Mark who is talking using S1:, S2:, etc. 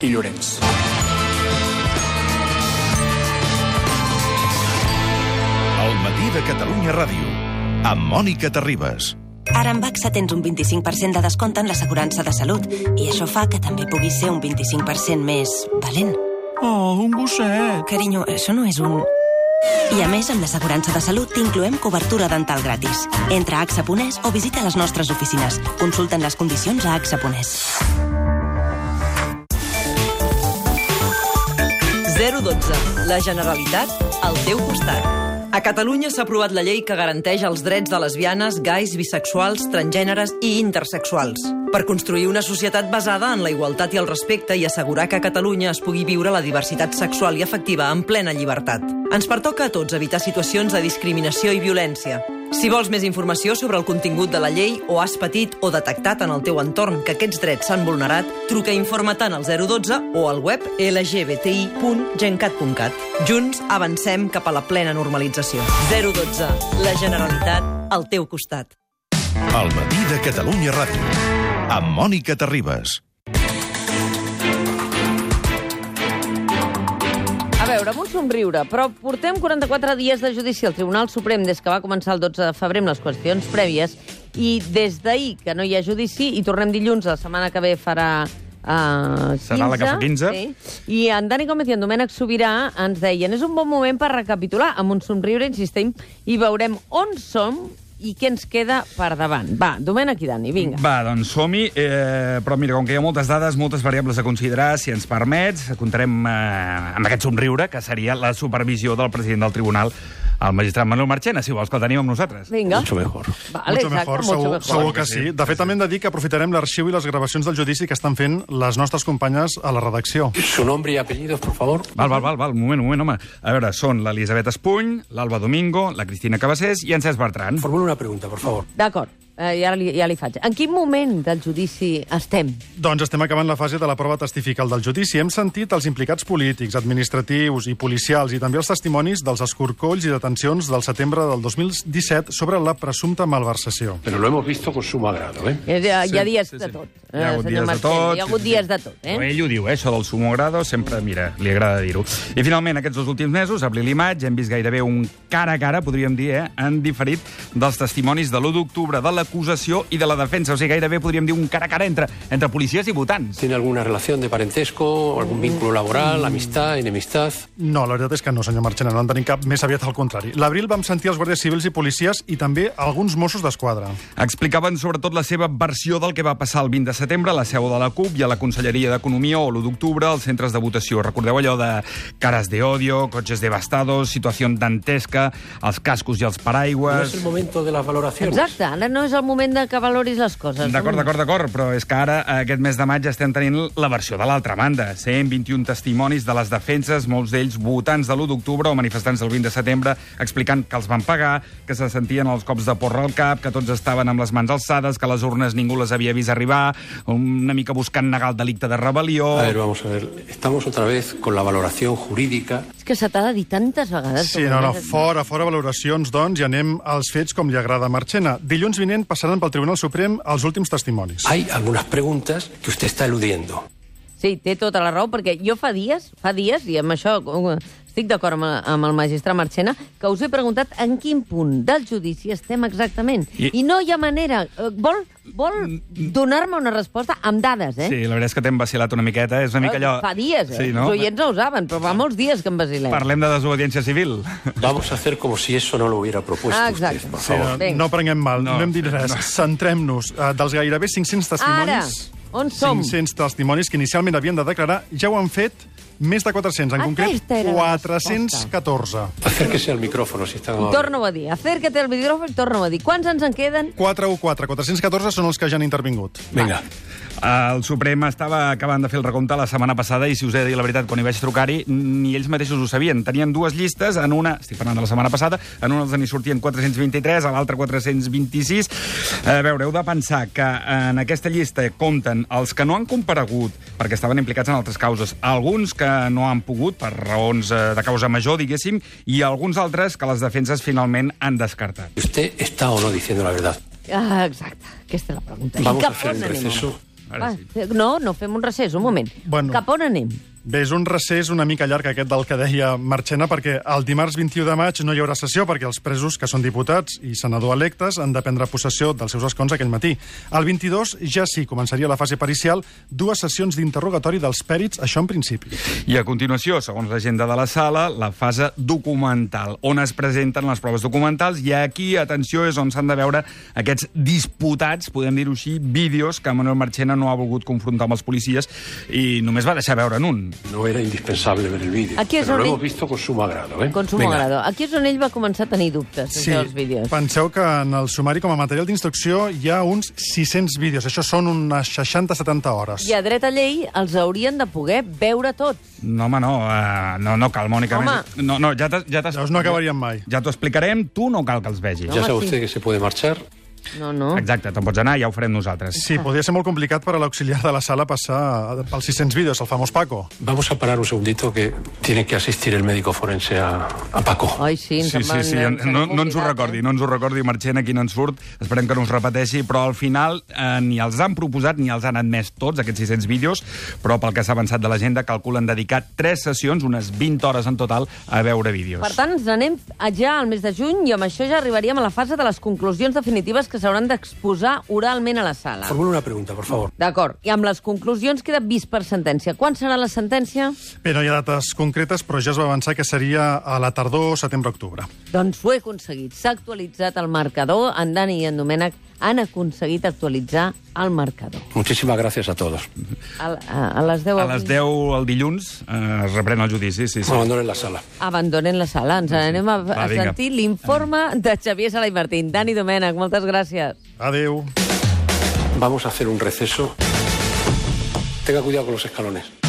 S1: i Llorenç.
S2: El matí de Catalunya Ràdio, amb Mònica Terribas.
S3: Ara amb AXA tens un 25% de descompte en l'assegurança de salut i això fa que també puguis ser un 25% més valent.
S1: Oh, un gosset!
S3: Carinyo, això no és un... I a més, amb l'assegurança de salut t'incloem cobertura dental gratis. Entra a AXA.es o visita les nostres oficines. Consulten les condicions a AXA.es.
S4: 012. La Generalitat al teu costat. A Catalunya s'ha aprovat la llei que garanteix els drets de lesbianes, gais, bisexuals, transgèneres i intersexuals. Per construir una societat basada en la igualtat i el respecte i assegurar que a Catalunya es pugui viure la diversitat sexual i afectiva en plena llibertat. Ens pertoca a tots evitar situacions de discriminació i violència. Si vols més informació sobre el contingut de la llei o has patit o detectat en el teu entorn que aquests drets s'han vulnerat, truca i informa tant al 012 o al web lgbti.gencat.cat. Junts avancem cap a la plena normalització. 012. La Generalitat al teu costat.
S2: El matí de Catalunya Ràdio, amb Mònica Terribas.
S5: A veure, amb un somriure, però portem 44 dies de judici al Tribunal Suprem des que va començar el 12 de febrer amb les qüestions prèvies i des d'ahir que no hi ha judici i tornem dilluns, la setmana que ve farà Uh, 15,
S1: Serà la que fa 15.
S5: Sí. I en Dani Gómez i en Domènec Sobirà ens deien és un bon moment per recapitular, amb un somriure, insistim, i veurem on som i què ens queda per davant. Va, Domènec i Dani, vinga.
S6: Va, doncs som-hi, eh, però mira, com que hi ha moltes dades, moltes variables a considerar, si ens permets, comptarem eh, amb aquest somriure, que seria la supervisió del president del tribunal, el magistrat Manuel Marchena, si vols que el tenim amb nosaltres.
S5: Vinga.
S7: Mucho mejor.
S5: Vale,
S8: mucho mejor,
S5: mucho
S8: segur,
S5: mejor.
S8: segur que sí. De fet, també hem de dir que aprofitarem l'arxiu i les gravacions del judici que estan fent les nostres companyes a la redacció.
S7: Su nombre y apellidos, por favor.
S6: Val, val, val, val, un moment, un moment, home. A veure, són l'Elisabet Espuny, l'Alba Domingo, la Cristina Cabassés i en Cesc Bertran.
S7: Formula una pregunta, por favor.
S5: D'acord, eh, ja, li, ja li faig. En quin moment del judici estem?
S8: Doncs estem acabant la fase de la prova testifical del judici. Hem sentit els implicats polítics, administratius i policials i també els testimonis dels escorcolls i detencions del setembre del 2017 sobre la presumpta malversació.
S7: Pero lo hemos visto con sumo agrado, ¿eh?
S5: Hi ha, hi ha
S6: Sí,
S5: dies
S6: sí,
S5: de
S6: sí.
S5: tot.
S6: Hi ha
S5: eh,
S6: hagut
S5: senyor
S6: dies de
S5: Marchena,
S6: tot.
S5: Hi ha hagut
S6: sí, sí.
S5: dies de tot,
S6: Però
S5: eh?
S6: Ell ho diu, eh, això del sumo grado, sempre, mira, li agrada dir-ho. I finalment, aquests dos últims mesos, abril i maig, hem vist gairebé un cara a cara, podríem dir, eh, en diferit dels testimonis de l'1 d'octubre, de l'acusació i de la defensa. O sigui, gairebé podríem dir un cara a cara entre, entre policies i votants.
S7: ¿Tiene alguna relación de parentesco, algún vínculo laboral, amistad, enemistad?
S8: No, la veritat és que no, senyor Marchena, no en tenim cap, més aviat al contrari. L'abril vam sentir els guàrdies civils i policies i també alguns Mossos d'Esquadra.
S6: Explicaven sobretot la seva versió del que va passar el 20 de setembre a la seu de la CUP i a la Conselleria d'Economia o l'1 d'octubre als centres de votació. Recordeu allò de caras de odio, cotxes devastados, situació dantesca, els cascos i els
S7: No
S6: paraigües...
S7: es el momento de las valoraciones.
S5: Exacte, ara no és el moment de que valoris les coses.
S6: D'acord, d'acord, d'acord, però és que ara, eh, aquest mes de maig, estem tenint la versió de l'altra banda. 121 testimonis de les defenses, molts d'ells votants de l'1 d'octubre o manifestants del 20 de setembre, explicant que els van pagar, que se sentien els cops de porra al cap, que tots estaven amb les mans alçades, que les urnes ningú les havia vist arribar, una mica buscant negar el delicte de rebel·lió...
S7: A ver, vamos a ver. Estamos otra vez con la valoración jurídica.
S5: És que se t'ha de dir tantes vegades...
S8: Sí,
S5: que
S8: no, no,
S5: comences-
S8: fora, fora valoracions, doncs, i anem als fets com li agrada a Marchena. Dilluns vinent passaran pel Tribunal Suprem els últims testimonis.
S7: Hay algunas preguntas que usted está eludiendo.
S5: Sí, té tota la raó, perquè jo fa dies, fa dies, i amb això eh, estic d'acord amb, amb el magistrat Marchena, que us he preguntat en quin punt del judici estem exactament. I,
S6: I- Mm,
S5: I no hi ha manera... eh, Vol, vol donar-me una resposta amb dades, eh?
S6: Sí, la veritat és que t'hem vacilat una miqueta, és una mica allò...
S5: Fa dies, eh?
S6: Sí, no?
S5: Els oients no ho saben, però fa molts dies que em basilem.
S6: Parlem de desobediència civil.
S7: Vamos a hacer como si eso no lo hubiera propuesto
S5: Ah,
S7: usted,
S5: exacte.
S7: por
S8: Sí,
S7: favor.
S8: no,
S5: Vinga.
S8: no prenguem mal, no,
S6: No,
S8: no hem dit res. No. Centrem-nos. Uh, dels gairebé 500
S5: Ara,
S8: testimonis...
S5: on som?
S8: 500 testimonis que inicialment havien de declarar ja ho han fet més de 400, en
S5: Ah, Aquesta
S8: concret
S5: era la
S8: 414.
S7: Acérquese al micrófono si está amable.
S5: Torno a dir, acércate al micròfon i torno a dir. Quants ens en queden?
S8: 414, 414 són els que ja han intervingut.
S7: Venga.
S6: El Suprem estava acabant de fer el recompte la setmana passada i, si us he de dir la veritat, quan hi vaig trucar-hi, ni ells mateixos ho sabien. Tenien dues llistes, en una, estic parlant de la setmana passada, en una els n'hi sortien 423, a l'altra 426. A veure, heu de pensar que en aquesta llista compten els que no han comparegut perquè estaven implicats en altres causes, alguns que no han pogut per raons eh, de causa major, diguéssim, i alguns altres que les defenses finalment han descartat.
S7: ¿Usted está o no diciendo la verdad?
S5: Ah, exacte, aquesta és la pregunta. I
S7: Vamos a
S5: cap
S7: hacer un
S5: on anem
S7: receso
S6: Ara sí.
S5: Va, eh, no, no, fem un recés, un moment.
S8: Bueno.
S5: Cap on anem?
S8: Bé, és un recés una mica llarg aquest del que deia Marchena, perquè el dimarts 21 de maig no hi haurà sessió perquè els presos, que són diputats i senador electes, han de prendre possessió dels seus escons aquell matí. El 22 ja sí, començaria la fase pericial, dues sessions d'interrogatori dels pèrits, això en principi.
S6: I a continuació, segons l'agenda de la sala, la fase documental, on es presenten les proves documentals, i aquí, atenció, és on s'han de veure aquests disputats, podem dir-ho així, vídeos que Manuel Marchena no ha volgut confrontar amb els policies i només va deixar veure en un.
S7: No era indispensable ver el vídeo.
S5: Aquí es
S7: pero lo
S5: donde-
S7: hemos visto con sumo agrado. ¿eh?
S5: Consumo
S7: Venga.
S5: agrado. Aquí és on ell va començar a tenir dubtes, sí. això dels vídeos.
S8: penseu que en el sumari com a material d'instrucció hi ha uns 600 vídeos. Això són unes 60-70 hores.
S5: I a dret a llei els haurien de poder veure tots.
S6: No, home, no, uh, no, no cal, Mònica.
S5: Home.
S6: Més- No, no, ja t'has- ja t'has-
S8: Llavors no acabaríem mai.
S6: Ja t'ho explicarem, tu no cal que els vegis.
S7: Ya
S5: No,
S7: sabe
S5: sí.
S7: usted que se puede marchar.
S5: No, no.
S6: Exacte, te'n pots anar, ja ho farem nosaltres.
S8: Sí, podria ser molt complicat per a l'auxiliar de la sala passar pels 600 vídeos, el famós Paco.
S7: Vamos a parar un segundito que tiene que asistir el médico forense a, a Paco.
S5: Ai, sí, ens
S6: Sí,
S5: en
S6: sí,
S5: van-
S6: sí, no,
S5: hem
S6: no ens ho
S5: oblidat,
S6: recordi,
S5: eh?
S6: no ens ho recordi, Marchena, qui no ens surt, esperem que no us repeteixi, però al final eh, ni els han proposat ni els han admès tots, aquests 600 vídeos, però pel que s'ha avançat de l'agenda, calculen dedicar 3 sessions, unes 20 hores en total, a veure vídeos.
S5: Per tant, ens n'anem a ja al mes de juny i amb això ja arribaríem a la fase de les conclusions definitives que s'hauran d'exposar oralment a la sala.
S7: Formule una pregunta, por favor.
S5: D'acord. I amb les conclusions queda vist per sentència. Quan serà la sentència?
S8: Bé, no hi ha dates concretes, però ja es va avançar que seria a la tardor, setembre-octubre.
S5: Doncs ho he aconseguit. S'ha actualitzat el marcador. En Dani i en Domènec han aconseguit actualitzar el marcador.
S7: Muchísimas gracias a todos.
S5: A, a, a les 10
S6: A
S5: avui
S6: les 10 el dilluns eh, es reprèn el judici, sí, sí.
S7: Abandonen la sala.
S5: abandonen la sala. Ens n'anem a, a
S6: Va, vinga.
S5: sentir l'informe de Xavier Sala i Martín. Dani Domènech, moltes gràcies.
S8: Adeu.
S7: Vamos a hacer un receso. Tenga cuidado con los escalones.